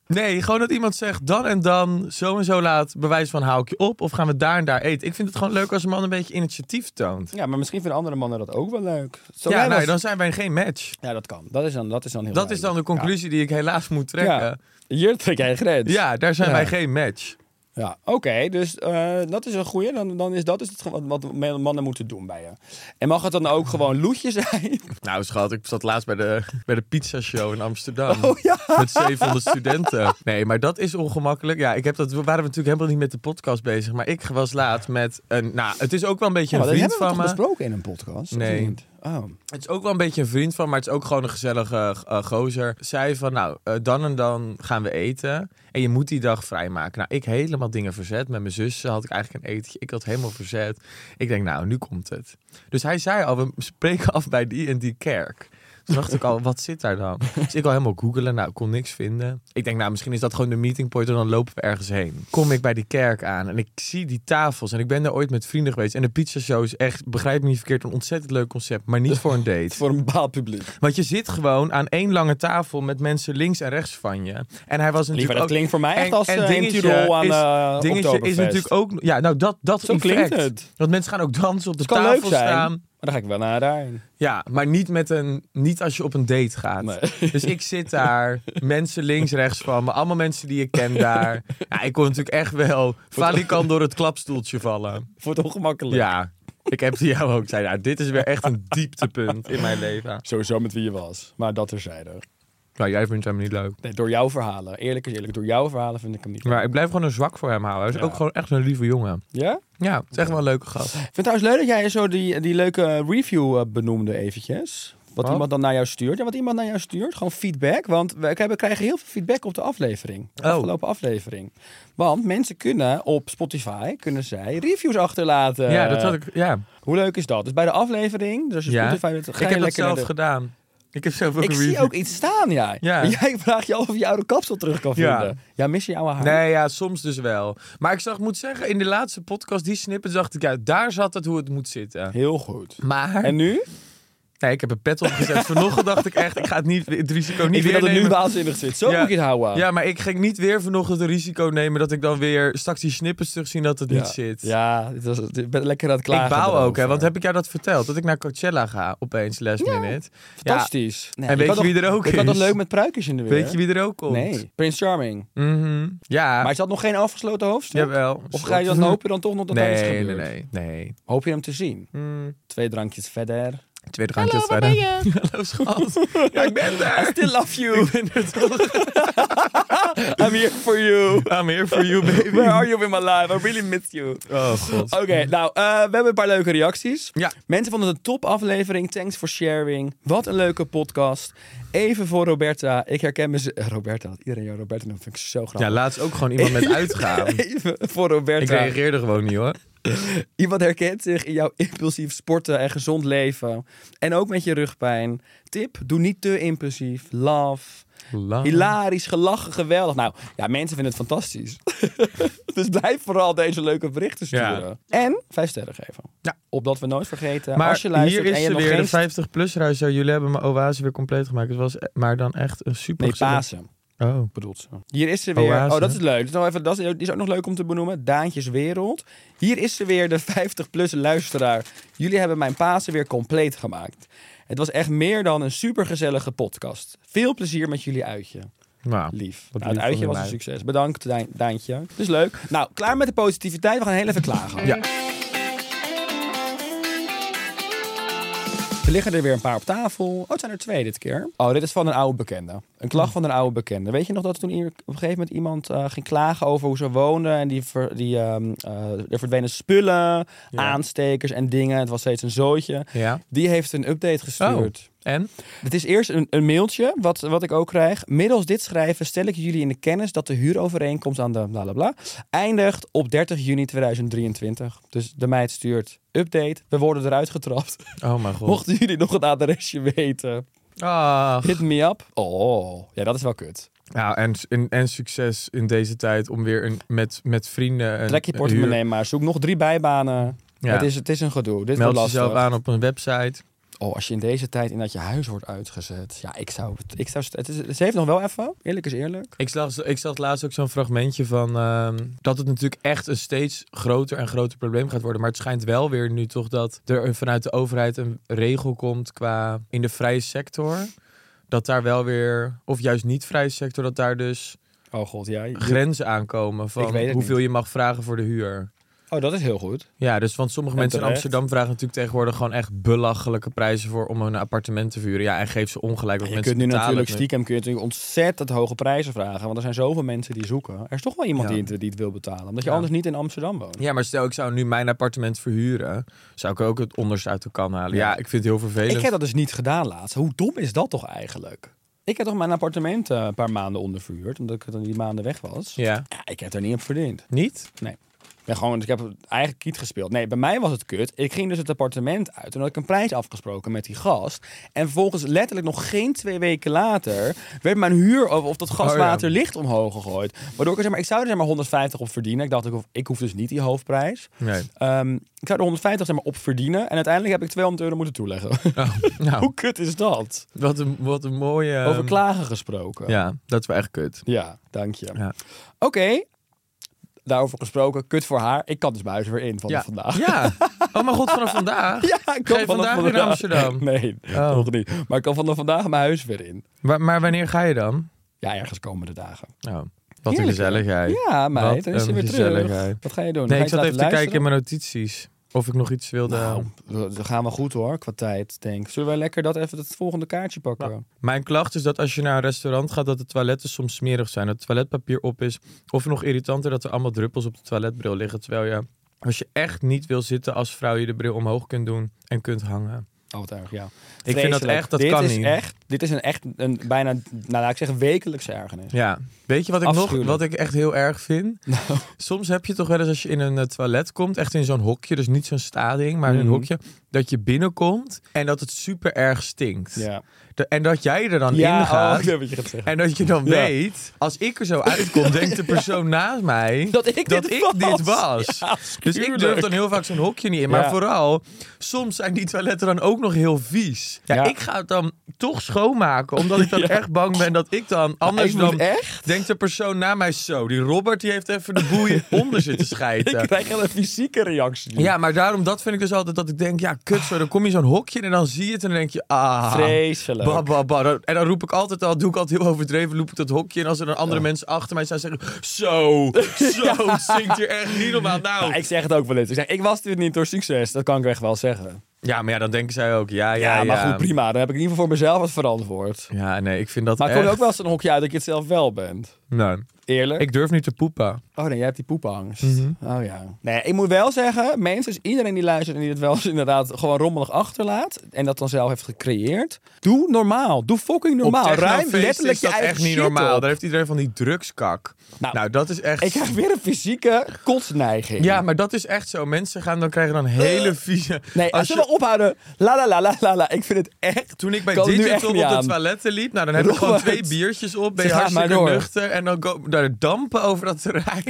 Speaker 3: Nee, gewoon dat iemand zegt dan en dan, zo en zo laat, bewijs van hou ik je op of gaan we daar en daar eten. Ik vind het gewoon leuk als een man een beetje initiatief toont.
Speaker 2: Ja, maar misschien vinden andere mannen dat ook wel leuk. Zo
Speaker 3: ja,
Speaker 2: jij
Speaker 3: nou,
Speaker 2: was-
Speaker 3: dan zijn wij geen match.
Speaker 2: ja, dat kan. Dat is dan, dat is dan heel
Speaker 3: Dat is dan de
Speaker 2: duidelijk.
Speaker 3: conclusie die ik helaas moet trekken.
Speaker 2: Ja.
Speaker 3: Ja,
Speaker 2: Ja. Hier trek jij een grens.
Speaker 3: daar zijn
Speaker 2: Ja.
Speaker 3: wij geen match.
Speaker 2: Ja, oké. dus eh, dat is een goeie. Dan, dan is dat dus het, ge- wat, wat mannen moeten doen bij je. En mag het dan ook gewoon loetje zijn?
Speaker 3: Nou, schat, ik zat laatst bij de, bij de pizza show in Amsterdam.
Speaker 2: Oh, ja.
Speaker 3: Met 700 studenten. Nee, maar dat is ongemakkelijk. Ja, ik heb dat, we waren natuurlijk helemaal niet met de podcast bezig. Maar ik was laatst met een. Nou, het is ook wel een beetje
Speaker 2: Ja,
Speaker 3: een
Speaker 2: dat
Speaker 3: vriend
Speaker 2: hebben we
Speaker 3: van
Speaker 2: toch
Speaker 3: me.
Speaker 2: besproken in een podcast? Of
Speaker 3: Nee.
Speaker 2: niet? Oh.
Speaker 3: Het is ook wel een beetje een vriend van, maar het is ook gewoon een gezellige eh, gozer. Zei van, nou, eh, dan en dan gaan we eten. En je moet die dag vrijmaken. Nou, ik helemaal dingen verzet. Met mijn zus had ik eigenlijk een etentje. Ik had helemaal verzet. Ik denk, nou, nu komt het. Dus hij zei al, we spreken af bij die en die kerk. Toen dacht ik al, wat zit daar dan? Dus ik al helemaal googelen, nou, ik kon niks vinden. Ik denk, nou, misschien is dat gewoon de meeting point en dan lopen we ergens heen. Kom ik bij die kerk aan en ik zie die tafels en ik ben daar ooit met vrienden geweest. En de pizza show is echt, begrijp me niet verkeerd, een ontzettend leuk concept, maar niet voor een
Speaker 2: *laughs*
Speaker 3: date.
Speaker 2: Voor een bepaald publiek.
Speaker 3: Want je zit gewoon aan één lange tafel met mensen links en rechts van je. En hij was natuurlijk
Speaker 2: Liever, dat
Speaker 3: ook-
Speaker 2: klinkt voor mij echt
Speaker 3: en-
Speaker 2: als,
Speaker 3: en
Speaker 2: eh, in
Speaker 3: dingetje
Speaker 2: Tirol aan,
Speaker 3: is,
Speaker 2: eh,
Speaker 3: Dingetje is
Speaker 2: Oktoberfest.
Speaker 3: natuurlijk ook... Ja, nou dat, dat
Speaker 2: Zo
Speaker 3: effect.
Speaker 2: klinkt het.
Speaker 3: Want mensen gaan ook dansen op de
Speaker 2: kan
Speaker 3: tafel
Speaker 2: leuk zijn.
Speaker 3: staan.
Speaker 2: dan ga ik wel naar daarheen.
Speaker 3: Ja, maar niet, met een, niet als je op een date gaat.
Speaker 2: Nee.
Speaker 3: Dus ik zit *laughs* daar, mensen links, rechts van me, allemaal mensen die ik ken daar. Ja, ik kon natuurlijk echt wel kan door het klapstoeltje vallen.
Speaker 2: Voor het ongemakkelijk.
Speaker 3: Ja, ik heb die jou ook zei, nou, dit is weer echt een dieptepunt in mijn leven.
Speaker 2: Sowieso met wie je was. Maar dat terzijde.
Speaker 3: Nou, jij vindt hem niet leuk.
Speaker 2: Nee, door jouw verhalen. Eerlijk is eerlijk. Door jouw verhalen vind ik hem niet.
Speaker 3: Maar ik blijf gewoon een zwak voor hem houden. Hij is
Speaker 2: Ja.
Speaker 3: ook gewoon echt een lieve jongen.
Speaker 2: Ja?
Speaker 3: Ja, het is echt wel een leuke gast.
Speaker 2: Ik vind het trouwens leuk dat jij zo die, die leuke review eh, benoemde eventjes. Wat
Speaker 3: Wat?
Speaker 2: iemand dan naar jou stuurt. Ja, wat iemand naar jou stuurt. Gewoon feedback. Want we hebben- krijgen heel veel feedback op de aflevering. De
Speaker 3: Oh.
Speaker 2: afgelopen aflevering. Want mensen kunnen op Spotify kunnen zij reviews achterlaten.
Speaker 3: ja, dat had ik. Ja,
Speaker 2: Hoe leuk is dat? Dus bij de aflevering. Dus als je
Speaker 3: ja.
Speaker 2: Spotify bent, ga je
Speaker 3: ik heb dat
Speaker 2: lekker naar
Speaker 3: zelf
Speaker 2: de-
Speaker 3: gedaan. Ik heb zelf ook
Speaker 2: Ik
Speaker 3: een
Speaker 2: zie
Speaker 3: review.
Speaker 2: ook iets staan, ja.
Speaker 3: Ja.
Speaker 2: *laughs* Jij vraagt je af of je oude kapsel terug kan
Speaker 3: Ja.
Speaker 2: vinden. Ja, mis je oude haar?
Speaker 3: Nee, ja, soms dus wel. Maar ik zag, moet zeggen, in de laatste podcast, die snippet, dacht ik, ja, daar zat het hoe het moet zitten.
Speaker 2: Heel goed.
Speaker 3: Maar,
Speaker 2: En nu?
Speaker 3: nee, ik heb een
Speaker 2: *laughs*
Speaker 3: pet opgezet. Vanochtend dacht ik echt, ik ga het, niet, het risico niet
Speaker 2: ik
Speaker 3: weer
Speaker 2: vind dat het nu
Speaker 3: nemen.
Speaker 2: waanzinnig zit. Zo moet je het houden.
Speaker 3: Ja, maar ik ging niet weer vanochtend een risico nemen dat ik dan weer straks die snippers terugzien dat het
Speaker 2: Ja.
Speaker 3: niet zit.
Speaker 2: Ja, het was, ik ben lekker aan het klagen.
Speaker 3: ik baal ook, hè,
Speaker 2: erover.
Speaker 3: want heb ik jou dat verteld? Dat ik naar Coachella ga, opeens, last minute.
Speaker 2: Fantastisch.
Speaker 3: En weet je wie er ook
Speaker 2: Ik had dat
Speaker 3: is?
Speaker 2: leuk met pruikjes in de
Speaker 3: Ja.
Speaker 2: weer.
Speaker 3: Weet je wie er ook komt?
Speaker 2: Nee, Prince Charming.
Speaker 3: Mhm. Ja.
Speaker 2: Maar is dat nog geen afgesloten hoofdstuk?
Speaker 3: Jawel.
Speaker 2: Of ga je
Speaker 3: *laughs*
Speaker 2: dan hopen dan toch nog dat dat is
Speaker 3: Nee,
Speaker 2: gebeurd?
Speaker 3: nee, nee. nee.
Speaker 2: Hoop je hem te zien?
Speaker 3: Mm.
Speaker 2: Twee drankjes verder.
Speaker 3: Tweede drankje Hallo, waar ben je? Hallo, schat. ja, ik ben
Speaker 2: I
Speaker 3: daar.
Speaker 2: still love
Speaker 3: *laughs*
Speaker 2: you. *laughs* I'm here for
Speaker 3: *laughs*
Speaker 2: you.
Speaker 3: I'm here for Ah, you,
Speaker 2: *laughs*
Speaker 3: baby.
Speaker 2: Where are you in my life? I really miss you.
Speaker 3: Oh, god.
Speaker 2: Oké, nou, eh, we hebben een paar leuke reacties.
Speaker 3: Ja.
Speaker 2: Mensen vonden het een top aflevering. Thanks for sharing. Wat een leuke podcast. Even voor Roberta. Ik herken me... Roberta, dat iedereen jou Roberta noemt, vind ik zo grappig.
Speaker 3: Ja, laatst ook gewoon iemand met uitgaan.
Speaker 2: *laughs* Even voor
Speaker 3: ik
Speaker 2: Roberta.
Speaker 3: reageerde gewoon niet, hoor.
Speaker 2: Iemand herkent zich in jouw impulsief sporten en gezond leven. En ook met je rugpijn. Tip, doe niet te impulsief. Love.
Speaker 3: Love.
Speaker 2: Hilarisch, gelachen, geweldig. Nou, ja, mensen vinden het fantastisch. *laughs* dus blijf vooral deze leuke berichten sturen. En vijf sterren geven.
Speaker 3: Ja.
Speaker 2: Opdat we nooit vergeten.
Speaker 3: Maar
Speaker 2: als je luistert
Speaker 3: hier
Speaker 2: en
Speaker 3: is
Speaker 2: je
Speaker 3: ze
Speaker 2: nog
Speaker 3: weer,
Speaker 2: geen...
Speaker 3: de 50 plus ruiser. Jullie hebben mijn oase weer compleet gemaakt. Het was eh, maar dan echt een super...
Speaker 2: Nee,
Speaker 3: gezellig-
Speaker 2: Pasen
Speaker 3: Oh.
Speaker 2: bedoelt ze. Hier is ze weer.
Speaker 3: Oase.
Speaker 2: Oh, dat is leuk. Dat is, nog even, dat is, die is ook nog leuk om te benoemen. Daantjes Wereld. Hier is ze weer, de *laughs* 50-plus luisteraar. Jullie hebben mijn Pasen weer compleet gemaakt. Het was echt meer dan een supergezellige podcast. Veel plezier met jullie uitje.
Speaker 3: Nou,
Speaker 2: Lief.
Speaker 3: Wat
Speaker 2: Nou, het
Speaker 3: lief
Speaker 2: uitje
Speaker 3: van
Speaker 2: was
Speaker 3: mij.
Speaker 2: een succes. Bedankt, Dijn- Daantje. Dus leuk. Nou, klaar met de positiviteit. We gaan heel even klagen.
Speaker 3: Ja.
Speaker 2: Er liggen er weer een paar op tafel. Oh, het zijn er twee dit keer. Oh, dit is van een oude bekende. Een klacht van een oude bekende. Weet je nog dat toen hier op een gegeven moment iemand eh, ging klagen over hoe ze woonden? En die ver- die, ehm, eh, er verdwenen spullen, aanstekers en dingen. Het was steeds een zootje.
Speaker 3: Ja.
Speaker 2: Die heeft een update gestuurd.
Speaker 3: Oh, En?
Speaker 2: Het is eerst een, een mailtje, wat, wat ik ook krijg. Middels dit schrijven stel ik jullie in de kennis dat de huurovereenkomst aan de bla bla bla eindigt op 30 juni 2023. Dus de meid stuurt update. We worden eruit getrapt.
Speaker 3: Oh mijn god.
Speaker 2: Mochten jullie nog het adresje weten,
Speaker 3: Ah.
Speaker 2: hit me up. Oh, ja, dat is wel kut.
Speaker 3: Ja, en, en, en succes in deze tijd om weer een, met, met vrienden... Een,
Speaker 2: Trek je
Speaker 3: een
Speaker 2: portemonnee maar. Zoek nog drie bijbanen.
Speaker 3: Ja.
Speaker 2: Het, is, het is een gedoe. Dit
Speaker 3: huur- Meld
Speaker 2: wordt
Speaker 3: jezelf
Speaker 2: lastig.
Speaker 3: aan op een website.
Speaker 2: Oh, als je in deze tijd in dat je huis wordt uitgezet. Ja, ik zou... Ik zou het is, ze heeft nog wel even. Eerlijk is eerlijk.
Speaker 3: Ik zag, ik zag laatst ook zo'n fragmentje van ehm, dat het natuurlijk echt een steeds groter en groter probleem gaat worden. Maar het schijnt wel weer nu toch dat er een- vanuit de overheid een regel komt qua in de vrije sector. Dat daar wel weer, of juist niet vrije sector, dat daar dus
Speaker 2: Oh god, ja. je-
Speaker 3: grenzen aankomen
Speaker 2: Ik
Speaker 3: van
Speaker 2: weet het
Speaker 3: hoeveel je mag vragen voor de huur.
Speaker 2: Oh, dat is heel goed.
Speaker 3: Ja, dus want sommige
Speaker 2: En
Speaker 3: mensen in
Speaker 2: terecht.
Speaker 3: Amsterdam vragen natuurlijk tegenwoordig gewoon echt belachelijke prijzen voor om een appartement te verhuren. Ja, en geef ze ongelijk. Want
Speaker 2: Je
Speaker 3: mensen
Speaker 2: kunt nu
Speaker 3: betalen
Speaker 2: natuurlijk
Speaker 3: het
Speaker 2: stiekem kun je natuurlijk ontzettend hoge prijzen vragen. Want er zijn zoveel mensen die zoeken. Er is toch wel iemand
Speaker 3: Ja.
Speaker 2: die, het, die het wil betalen. Omdat je
Speaker 3: Ja.
Speaker 2: anders niet in Amsterdam woont.
Speaker 3: Ja, maar stel ik zou nu mijn appartement verhuren, zou ik ook het onderste uit de kan halen. Ja, ik vind het heel vervelend.
Speaker 2: Ik heb dat dus niet gedaan laatst. Hoe dom is dat toch eigenlijk? Ik heb toch mijn appartement eh, een paar maanden onderverhuurd. Omdat ik dan die maanden weg was.
Speaker 3: Ja.
Speaker 2: Ja, ik heb er niet op verdiend.
Speaker 3: Niet?
Speaker 2: Nee. Ik ben gewoon, ik heb eigenlijk kiet gespeeld. Nee, bij mij was het kut. Ik ging dus het appartement uit. En had ik een prijs afgesproken met die gast. En vervolgens, letterlijk nog geen twee weken later, werd mijn huur of, of dat gaswater
Speaker 3: Oh ja.
Speaker 2: licht omhoog gegooid. Waardoor ik, zeg maar, ik zou er zeg maar 150 op verdienen. Ik dacht, ik hoef, ik hoef dus niet die hoofdprijs.
Speaker 3: Nee.
Speaker 2: Ehm, ik zou er 150 zeg maar, op verdienen. En uiteindelijk heb ik 200 euro moeten toeleggen.
Speaker 3: *laughs*
Speaker 2: *laughs*
Speaker 3: Nou,
Speaker 2: Hoe kut is dat?
Speaker 3: wat een, wat een mooie... ehm,
Speaker 2: Over klagen gesproken.
Speaker 3: Ja, dat is wel echt kut.
Speaker 2: Ja, dank je.
Speaker 3: Ja.
Speaker 2: Oké. daarover gesproken, kut voor haar. Ik kan dus mijn huis weer in vanaf
Speaker 3: ja.
Speaker 2: vandaag.
Speaker 3: Ja. Oh mijn god, vanaf vandaag?
Speaker 2: *laughs* Ja, ik
Speaker 3: Ga
Speaker 2: kan vanaf
Speaker 3: je vandaag weer naar
Speaker 2: vandaag-
Speaker 3: Amsterdam?
Speaker 2: *laughs* Nee,
Speaker 3: Oh.
Speaker 2: nog niet. Maar ik kan vanaf vandaag mijn huis weer in.
Speaker 3: Maar, maar wanneer ga je dan?
Speaker 2: Ja, ergens komende dagen.
Speaker 3: Nou, wat een
Speaker 2: Heerlijk, hè?
Speaker 3: gezelligheid.
Speaker 2: Ja, meid,
Speaker 3: Wat
Speaker 2: dan is hij
Speaker 3: een
Speaker 2: weer terug.
Speaker 3: gezelligheid.
Speaker 2: Wat ga je doen?
Speaker 3: Nee,
Speaker 2: Ga je
Speaker 3: ik zat
Speaker 2: het
Speaker 3: even te
Speaker 2: laten
Speaker 3: kijken in mijn eh, notities. Of ik nog iets wilde...
Speaker 2: luisteren? Nou, dan gaan we goed hoor, qua tijd, denk ik. Zullen wij lekker dat even het volgende kaartje pakken?
Speaker 3: Mijn klacht is dat als je naar een restaurant gaat, dat de toiletten soms smerig zijn. Dat het toiletpapier op is. Of nog irritanter, dat er allemaal druppels op de toiletbril liggen. Terwijl je, als je echt niet wil zitten als vrouw, je de bril omhoog kunt doen en kunt hangen.
Speaker 2: Oh, wat erg, ja.
Speaker 3: vind dat
Speaker 2: Vreselijk.
Speaker 3: echt, dat
Speaker 2: dit
Speaker 3: kan
Speaker 2: is
Speaker 3: niet.
Speaker 2: Echt, dit is een echt, een, bijna, nou laat ik zeggen, wekelijkse ergernis.
Speaker 3: Ja. Weet je wat ik nog,
Speaker 2: Afschuwelijk.
Speaker 3: wat ik echt heel erg vind? Soms heb je toch wel eens als je in een eh, toilet komt, echt in zo'n hokje, dus niet zo'n stading, maar in een
Speaker 2: Mhm.
Speaker 3: hokje, dat je binnenkomt en dat het super erg stinkt.
Speaker 2: Ja,
Speaker 3: De- en dat jij er dan in
Speaker 2: oh, *laughs*
Speaker 3: gaat.
Speaker 2: ik weet wat je gaat zeggen.
Speaker 3: En dat je dan
Speaker 2: Ja.
Speaker 3: weet, als ik er zo uitkom, denkt de
Speaker 2: *laughs*
Speaker 3: persoon naast mij
Speaker 2: Dat ik dit was.
Speaker 3: dit was.
Speaker 2: Ja,
Speaker 3: dus ik durf
Speaker 2: tuurlijk.
Speaker 3: dan heel vaak zo'n hokje niet in.
Speaker 2: Ja.
Speaker 3: Maar vooral, soms zijn die toiletten dan ook nog heel vies. Ja,
Speaker 2: Ja.
Speaker 3: Ik ga het dan toch schoonmaken,
Speaker 2: *laughs*
Speaker 3: omdat ik dan echt bang ben dat ik dan anders
Speaker 2: ik moet
Speaker 3: dan...
Speaker 2: echt?
Speaker 3: Denkt de persoon na mij zo, die Robert die heeft even de
Speaker 2: *laughs*
Speaker 3: boeien onder zitten
Speaker 2: Ik
Speaker 3: schijten.
Speaker 2: krijg een fysieke reactie.
Speaker 3: Ja, maar daarom, dat vind ik dus altijd dat ik denk, ja kut zo, dan kom je zo'n hokje in en dan zie je het en dan denk je, ah.
Speaker 2: Vreselijk.
Speaker 3: Ba, ba, ba. Dan- En dan roep ik altijd al, doe ik altijd heel overdreven, loop ik dat hokje. En als er dan andere mensen achter mij staan, zeggen
Speaker 2: *laughs*
Speaker 3: zo, zo, het zingt hier echt niet normaal. Nou.
Speaker 2: Nou, ik zeg het ook wel eens. Ik zeg, ik was dit niet door succes. Dat kan ik echt wel zeggen.
Speaker 3: Ja, maar ja, dan denken zij ook, ja, ja,
Speaker 2: Ja, maar
Speaker 3: ja.
Speaker 2: goed, prima. Dan heb ik in ieder geval voor mezelf het verantwoord.
Speaker 3: Ja, nee, ik vind dat
Speaker 2: Maar ik
Speaker 3: echt...
Speaker 2: kom er ook wel eens een hokje uit dat je het zelf wel bent.
Speaker 3: Nee,
Speaker 2: Eerlijk?
Speaker 3: ik Mhm. durf niet te poepen.
Speaker 2: Oh nee, jij hebt die poepangst. Oh ja. Nee, ik moet wel zeggen, mensen, dus iedereen die luistert en die het wel eens inderdaad gewoon rommelig achterlaat en dat dan zelf heeft gecreëerd, doe normaal. Doe fucking normaal.
Speaker 3: Op
Speaker 2: Ruim
Speaker 3: technofeesten
Speaker 2: letterlijk
Speaker 3: is
Speaker 2: je
Speaker 3: dat
Speaker 2: eigen
Speaker 3: echt niet
Speaker 2: shit
Speaker 3: normaal.
Speaker 2: op.
Speaker 3: Daar heeft iedereen van die drugskak. Nou,
Speaker 2: Nou,
Speaker 3: dat is echt...
Speaker 2: Ik krijg weer een fysieke kotsneiging.
Speaker 3: Ja, maar dat is echt zo. Mensen gaan dan krijgen dan hele vieze...
Speaker 2: Eh. Nee, als, je we ophouden, la la la la la la. Ik vind het echt.
Speaker 3: Toen ik bij
Speaker 2: kan het nu echt
Speaker 3: Digital op
Speaker 2: niet
Speaker 3: de
Speaker 2: aan.
Speaker 3: toiletten liep, nou dan heb ik
Speaker 2: Robert.
Speaker 3: gewoon twee biertjes op, ben je
Speaker 2: Ga maar
Speaker 3: hartstikke
Speaker 2: door.
Speaker 3: nuchter en dan go, daar dampen over
Speaker 2: *laughs*
Speaker 3: dat terrein.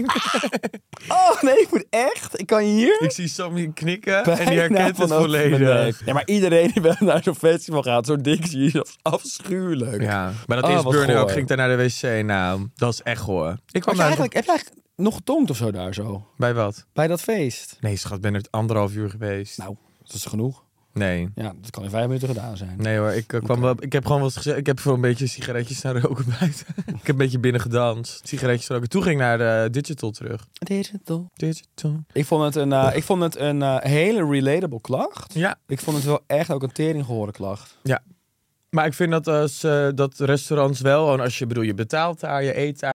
Speaker 2: Oh nee, ik moet echt. Ik kan hier.
Speaker 3: ik zie Sammy knikken
Speaker 2: bijna
Speaker 3: en die herkent het
Speaker 2: vanaf mijn nek.
Speaker 3: volledig.
Speaker 2: Ja, maar iedereen die wel naar zo'n festival gaat, zo'n ding zie je, dat is afschuwelijk.
Speaker 3: Ja, maar dat
Speaker 2: Oh,
Speaker 3: is
Speaker 2: wat
Speaker 3: burn ook.
Speaker 2: goor.
Speaker 3: Ging daar naar de wc. Nou, dat is echt hoor. Ik
Speaker 2: Heb
Speaker 3: kwam
Speaker 2: je,
Speaker 3: daar
Speaker 2: eigenlijk, heb je eigenlijk nog getonkt of zo daar zo?
Speaker 3: bij wat?
Speaker 2: Bij dat feest?
Speaker 3: Nee, schat, ben er anderhalf uur geweest.
Speaker 2: Nou, dat is genoeg.
Speaker 3: Nee.
Speaker 2: Ja, dat kan in vijf minuten gedaan zijn.
Speaker 3: Nee hoor, ik, eh, kwam wel, ik heb gewoon wat gezegd. Ik heb voor een beetje sigaretjes staan roken buiten. *laughs* ik heb een beetje binnen gedanst, sigaretjes roken. Toen ging ik naar eh, Digital terug.
Speaker 2: Digital.
Speaker 3: Digital.
Speaker 2: Ik vond het een, eh, ik vond het een eh, hele relatable klacht.
Speaker 3: Ja,
Speaker 2: Ik vond het wel echt ook een teringgehoorde klacht.
Speaker 3: Ja. Maar ik vind dat als eh, dat restaurants wel, en als je bedoel, je betaalt daar, je eet daar.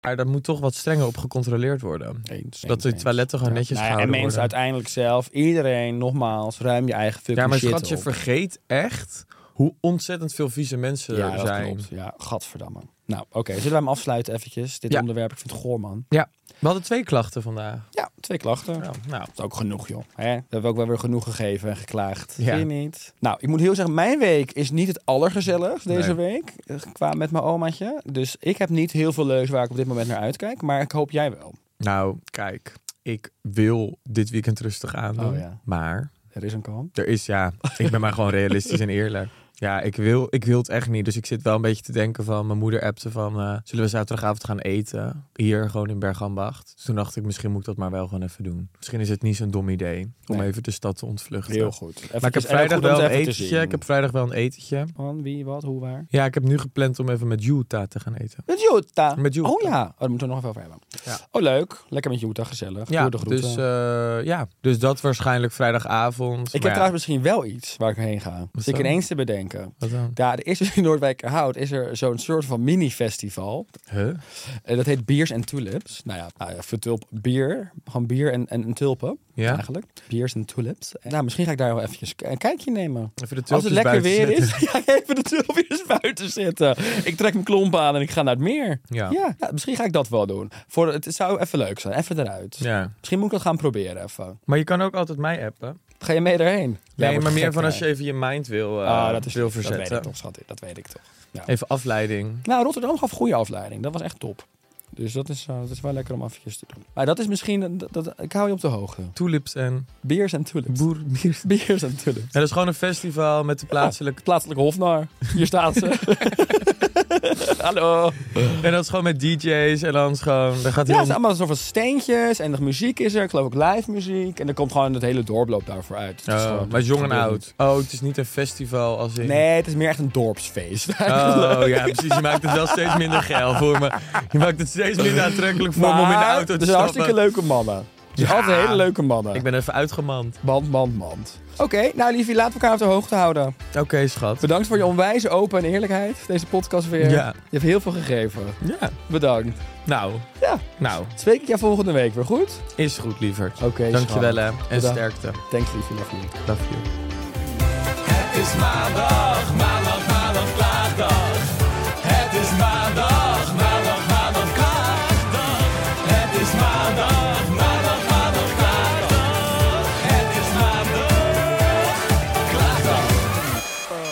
Speaker 3: Maar daar moet toch wat strenger op gecontroleerd worden.
Speaker 2: Eens,
Speaker 3: Zodat
Speaker 2: eens,
Speaker 3: de
Speaker 2: eens.
Speaker 3: toiletten gewoon netjes
Speaker 2: Nou ja, en
Speaker 3: gehouden
Speaker 2: mensen
Speaker 3: worden.
Speaker 2: uiteindelijk zelf, iedereen, nogmaals, ruim je eigen fucking
Speaker 3: Ja, maar
Speaker 2: shit
Speaker 3: schat, je
Speaker 2: op.
Speaker 3: vergeet echt hoe ontzettend veel vieze mensen
Speaker 2: ja,
Speaker 3: er
Speaker 2: dat
Speaker 3: zijn.
Speaker 2: klopt. Ja, gadverdamme. Nou, oké. Zullen we hem afsluiten eventjes? Dit
Speaker 3: Ja.
Speaker 2: onderwerp, ik vind het goor, man.
Speaker 3: Ja, we hadden twee klachten vandaag.
Speaker 2: Ja, twee klachten.
Speaker 3: Nou, nou.
Speaker 2: Dat is ook genoeg, joh. Hè? We hebben ook wel weer genoeg gegeven en geklaagd.
Speaker 3: Ja.
Speaker 2: Zie je niet? Nou, ik moet heel zeggen, mijn week is niet het allergezelligst deze week. eh, Qua met mijn omaatje. Dus ik heb niet heel veel leus waar ik op dit moment naar uitkijk. Maar ik hoop jij wel.
Speaker 3: nou, kijk, ik wil dit weekend rustig aandoen.
Speaker 2: Oh, ja.
Speaker 3: Maar
Speaker 2: Er is een kant.
Speaker 3: Er is, ja. Ik ben maar gewoon realistisch en eerlijk. Ja, ik wil, ik wil het echt niet. Dus ik zit wel een beetje te denken van... Mijn moeder appte van... eh, zullen we zaterdagavond gaan eten? Hier, gewoon in Bergambacht. Dus toen dacht ik, misschien moet ik dat maar wel gewoon even doen. Misschien is het niet zo'n dom idee om
Speaker 2: Nee.
Speaker 3: even de stad te ontvluchten.
Speaker 2: Heel goed. Even,
Speaker 3: Maar ik heb vrijdag wel een etentje.
Speaker 2: zien.
Speaker 3: Ik heb vrijdag wel een etentje.
Speaker 2: Van wie, wat, hoe, waar?
Speaker 3: Ja, ik heb nu gepland om even met Utah te gaan eten.
Speaker 2: Met Jutta.
Speaker 3: Met Jutta.
Speaker 2: Oh ja, oh, daar moeten we nog even over hebben.
Speaker 3: Ja.
Speaker 2: Oh leuk, lekker met Jutta, gezellig.
Speaker 3: Ja,
Speaker 2: Doe de groeten.
Speaker 3: dus, eh, ja, dus dat waarschijnlijk vrijdagavond.
Speaker 2: ik heb
Speaker 3: Maar ja,
Speaker 2: trouwens misschien wel iets waar ik heen ga. Zit ik
Speaker 3: dan?
Speaker 2: ineens te bedenken. denken. Ja, er is dus in Noordwijkerhout is er zo'n soort van mini-festival.
Speaker 3: Huh?
Speaker 2: En dat heet Beers en Tulips. Nou ja, nou ja, voor tulp, bier. Gewoon bier en, en, en tulpen.
Speaker 3: Ja.
Speaker 2: Eigenlijk. Beers en Tulips. En nou, misschien ga ik daar wel eventjes een kijkje nemen.
Speaker 3: Even de
Speaker 2: Als het lekker
Speaker 3: tulpjes
Speaker 2: weer
Speaker 3: buiten
Speaker 2: is, *laughs* ga ik even de tulpjes buiten zitten. Ik trek mijn klomp aan en ik ga naar het meer.
Speaker 3: Ja.
Speaker 2: Ja, ja, misschien ga ik dat wel doen. Voor, het zou even leuk zijn. Even eruit.
Speaker 3: Ja.
Speaker 2: Misschien moet ik dat gaan proberen even.
Speaker 3: Maar je kan ook altijd mij appen.
Speaker 2: Ga je mee erheen?
Speaker 3: Nee,
Speaker 2: wordt
Speaker 3: maar meer
Speaker 2: gek,
Speaker 3: van als je
Speaker 2: hè?
Speaker 3: even je mind wil, eh,
Speaker 2: Ah, dat is
Speaker 3: wil
Speaker 2: Dat weet ik
Speaker 3: verzetten.
Speaker 2: toch, schat. Dat weet ik toch. Ja.
Speaker 3: even afleiding.
Speaker 2: Nou, Rotterdam gaf goede afleiding. Dat was echt top. Dus dat is, eh, dat is wel lekker om afjes te doen. Maar dat is misschien... eh, Dat, dat- ik hou je op de hoogte.
Speaker 3: Tulips en
Speaker 2: Beers en tulips.
Speaker 3: boer. bier.
Speaker 2: Beers en tulips.
Speaker 3: Ja, dat is gewoon een festival
Speaker 2: Oh.
Speaker 3: met de plaatselijke...
Speaker 2: Plaatselijke hofnar. Hier staat ze. *laughs* Hallo.
Speaker 3: En dat is gewoon met DJ's en dan is gewoon... Dan gaat
Speaker 2: Ja, het
Speaker 3: heel...
Speaker 2: zijn allemaal soort van steentjes. En de muziek is er. Ik geloof ook live muziek. En er komt gewoon het hele dorploop daarvoor uit. Het is
Speaker 3: Oh,
Speaker 2: gewoon-
Speaker 3: maar jong en
Speaker 2: gebeurt
Speaker 3: oud. Oh, het is niet een festival als in...
Speaker 2: Nee, het is meer echt een *laughs* dorpsfeest.
Speaker 3: Oh, ja, precies. Je maakt het wel steeds minder geil voor me. Je maakt het steeds minder aantrekkelijk voor me om in de
Speaker 2: Maar
Speaker 3: auto
Speaker 2: het
Speaker 3: te
Speaker 2: zijn hartstikke
Speaker 3: stappen.
Speaker 2: leuke mannen. Het zijn altijd hele leuke mannen.
Speaker 3: Ik ben even uitgemand.
Speaker 2: Band, band, band. Oké, nou liefie, laten we elkaar op de hoogte houden.
Speaker 3: Oké, schat.
Speaker 2: Bedankt voor je onwijze open en eerlijkheid. Deze podcast weer.
Speaker 3: Ja.
Speaker 2: Je hebt heel veel gegeven.
Speaker 3: Ja.
Speaker 2: Bedankt.
Speaker 3: Nou,
Speaker 2: Ja,
Speaker 3: nou.
Speaker 2: spreek ik jou volgende week weer, goed?
Speaker 3: Is goed, lieverd.
Speaker 2: Oké,
Speaker 3: Dankjewel,
Speaker 2: schat.
Speaker 3: hè. En
Speaker 2: Bedankt.
Speaker 3: sterkte.
Speaker 2: Thanks, liefie, love you.
Speaker 3: Love you.
Speaker 1: Het is maandag, maandag, maandag, klaagdag. Het is maandag, maandag, maandag, klaagdag. Het is maandag, maandag, maandag, klaagdag. Het is maandag, klaagdag.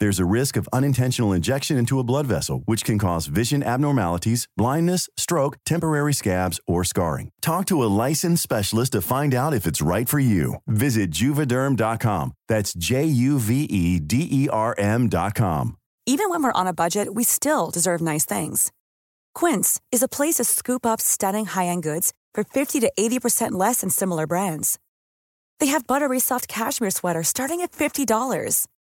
Speaker 4: There's a risk of unintentional injection into a blood vessel, which can cause vision abnormalities, blindness, stroke, temporary scabs, or scarring. Talk to a licensed specialist to find out if it's right for you. Visit juvederm.com. That's J U V E D E R M.com.
Speaker 5: Even when we're on a budget, we still deserve nice things. Quince is a place to scoop up stunning high-end goods for 50 to 80% less than similar brands. They have buttery soft cashmere sweaters starting at $50,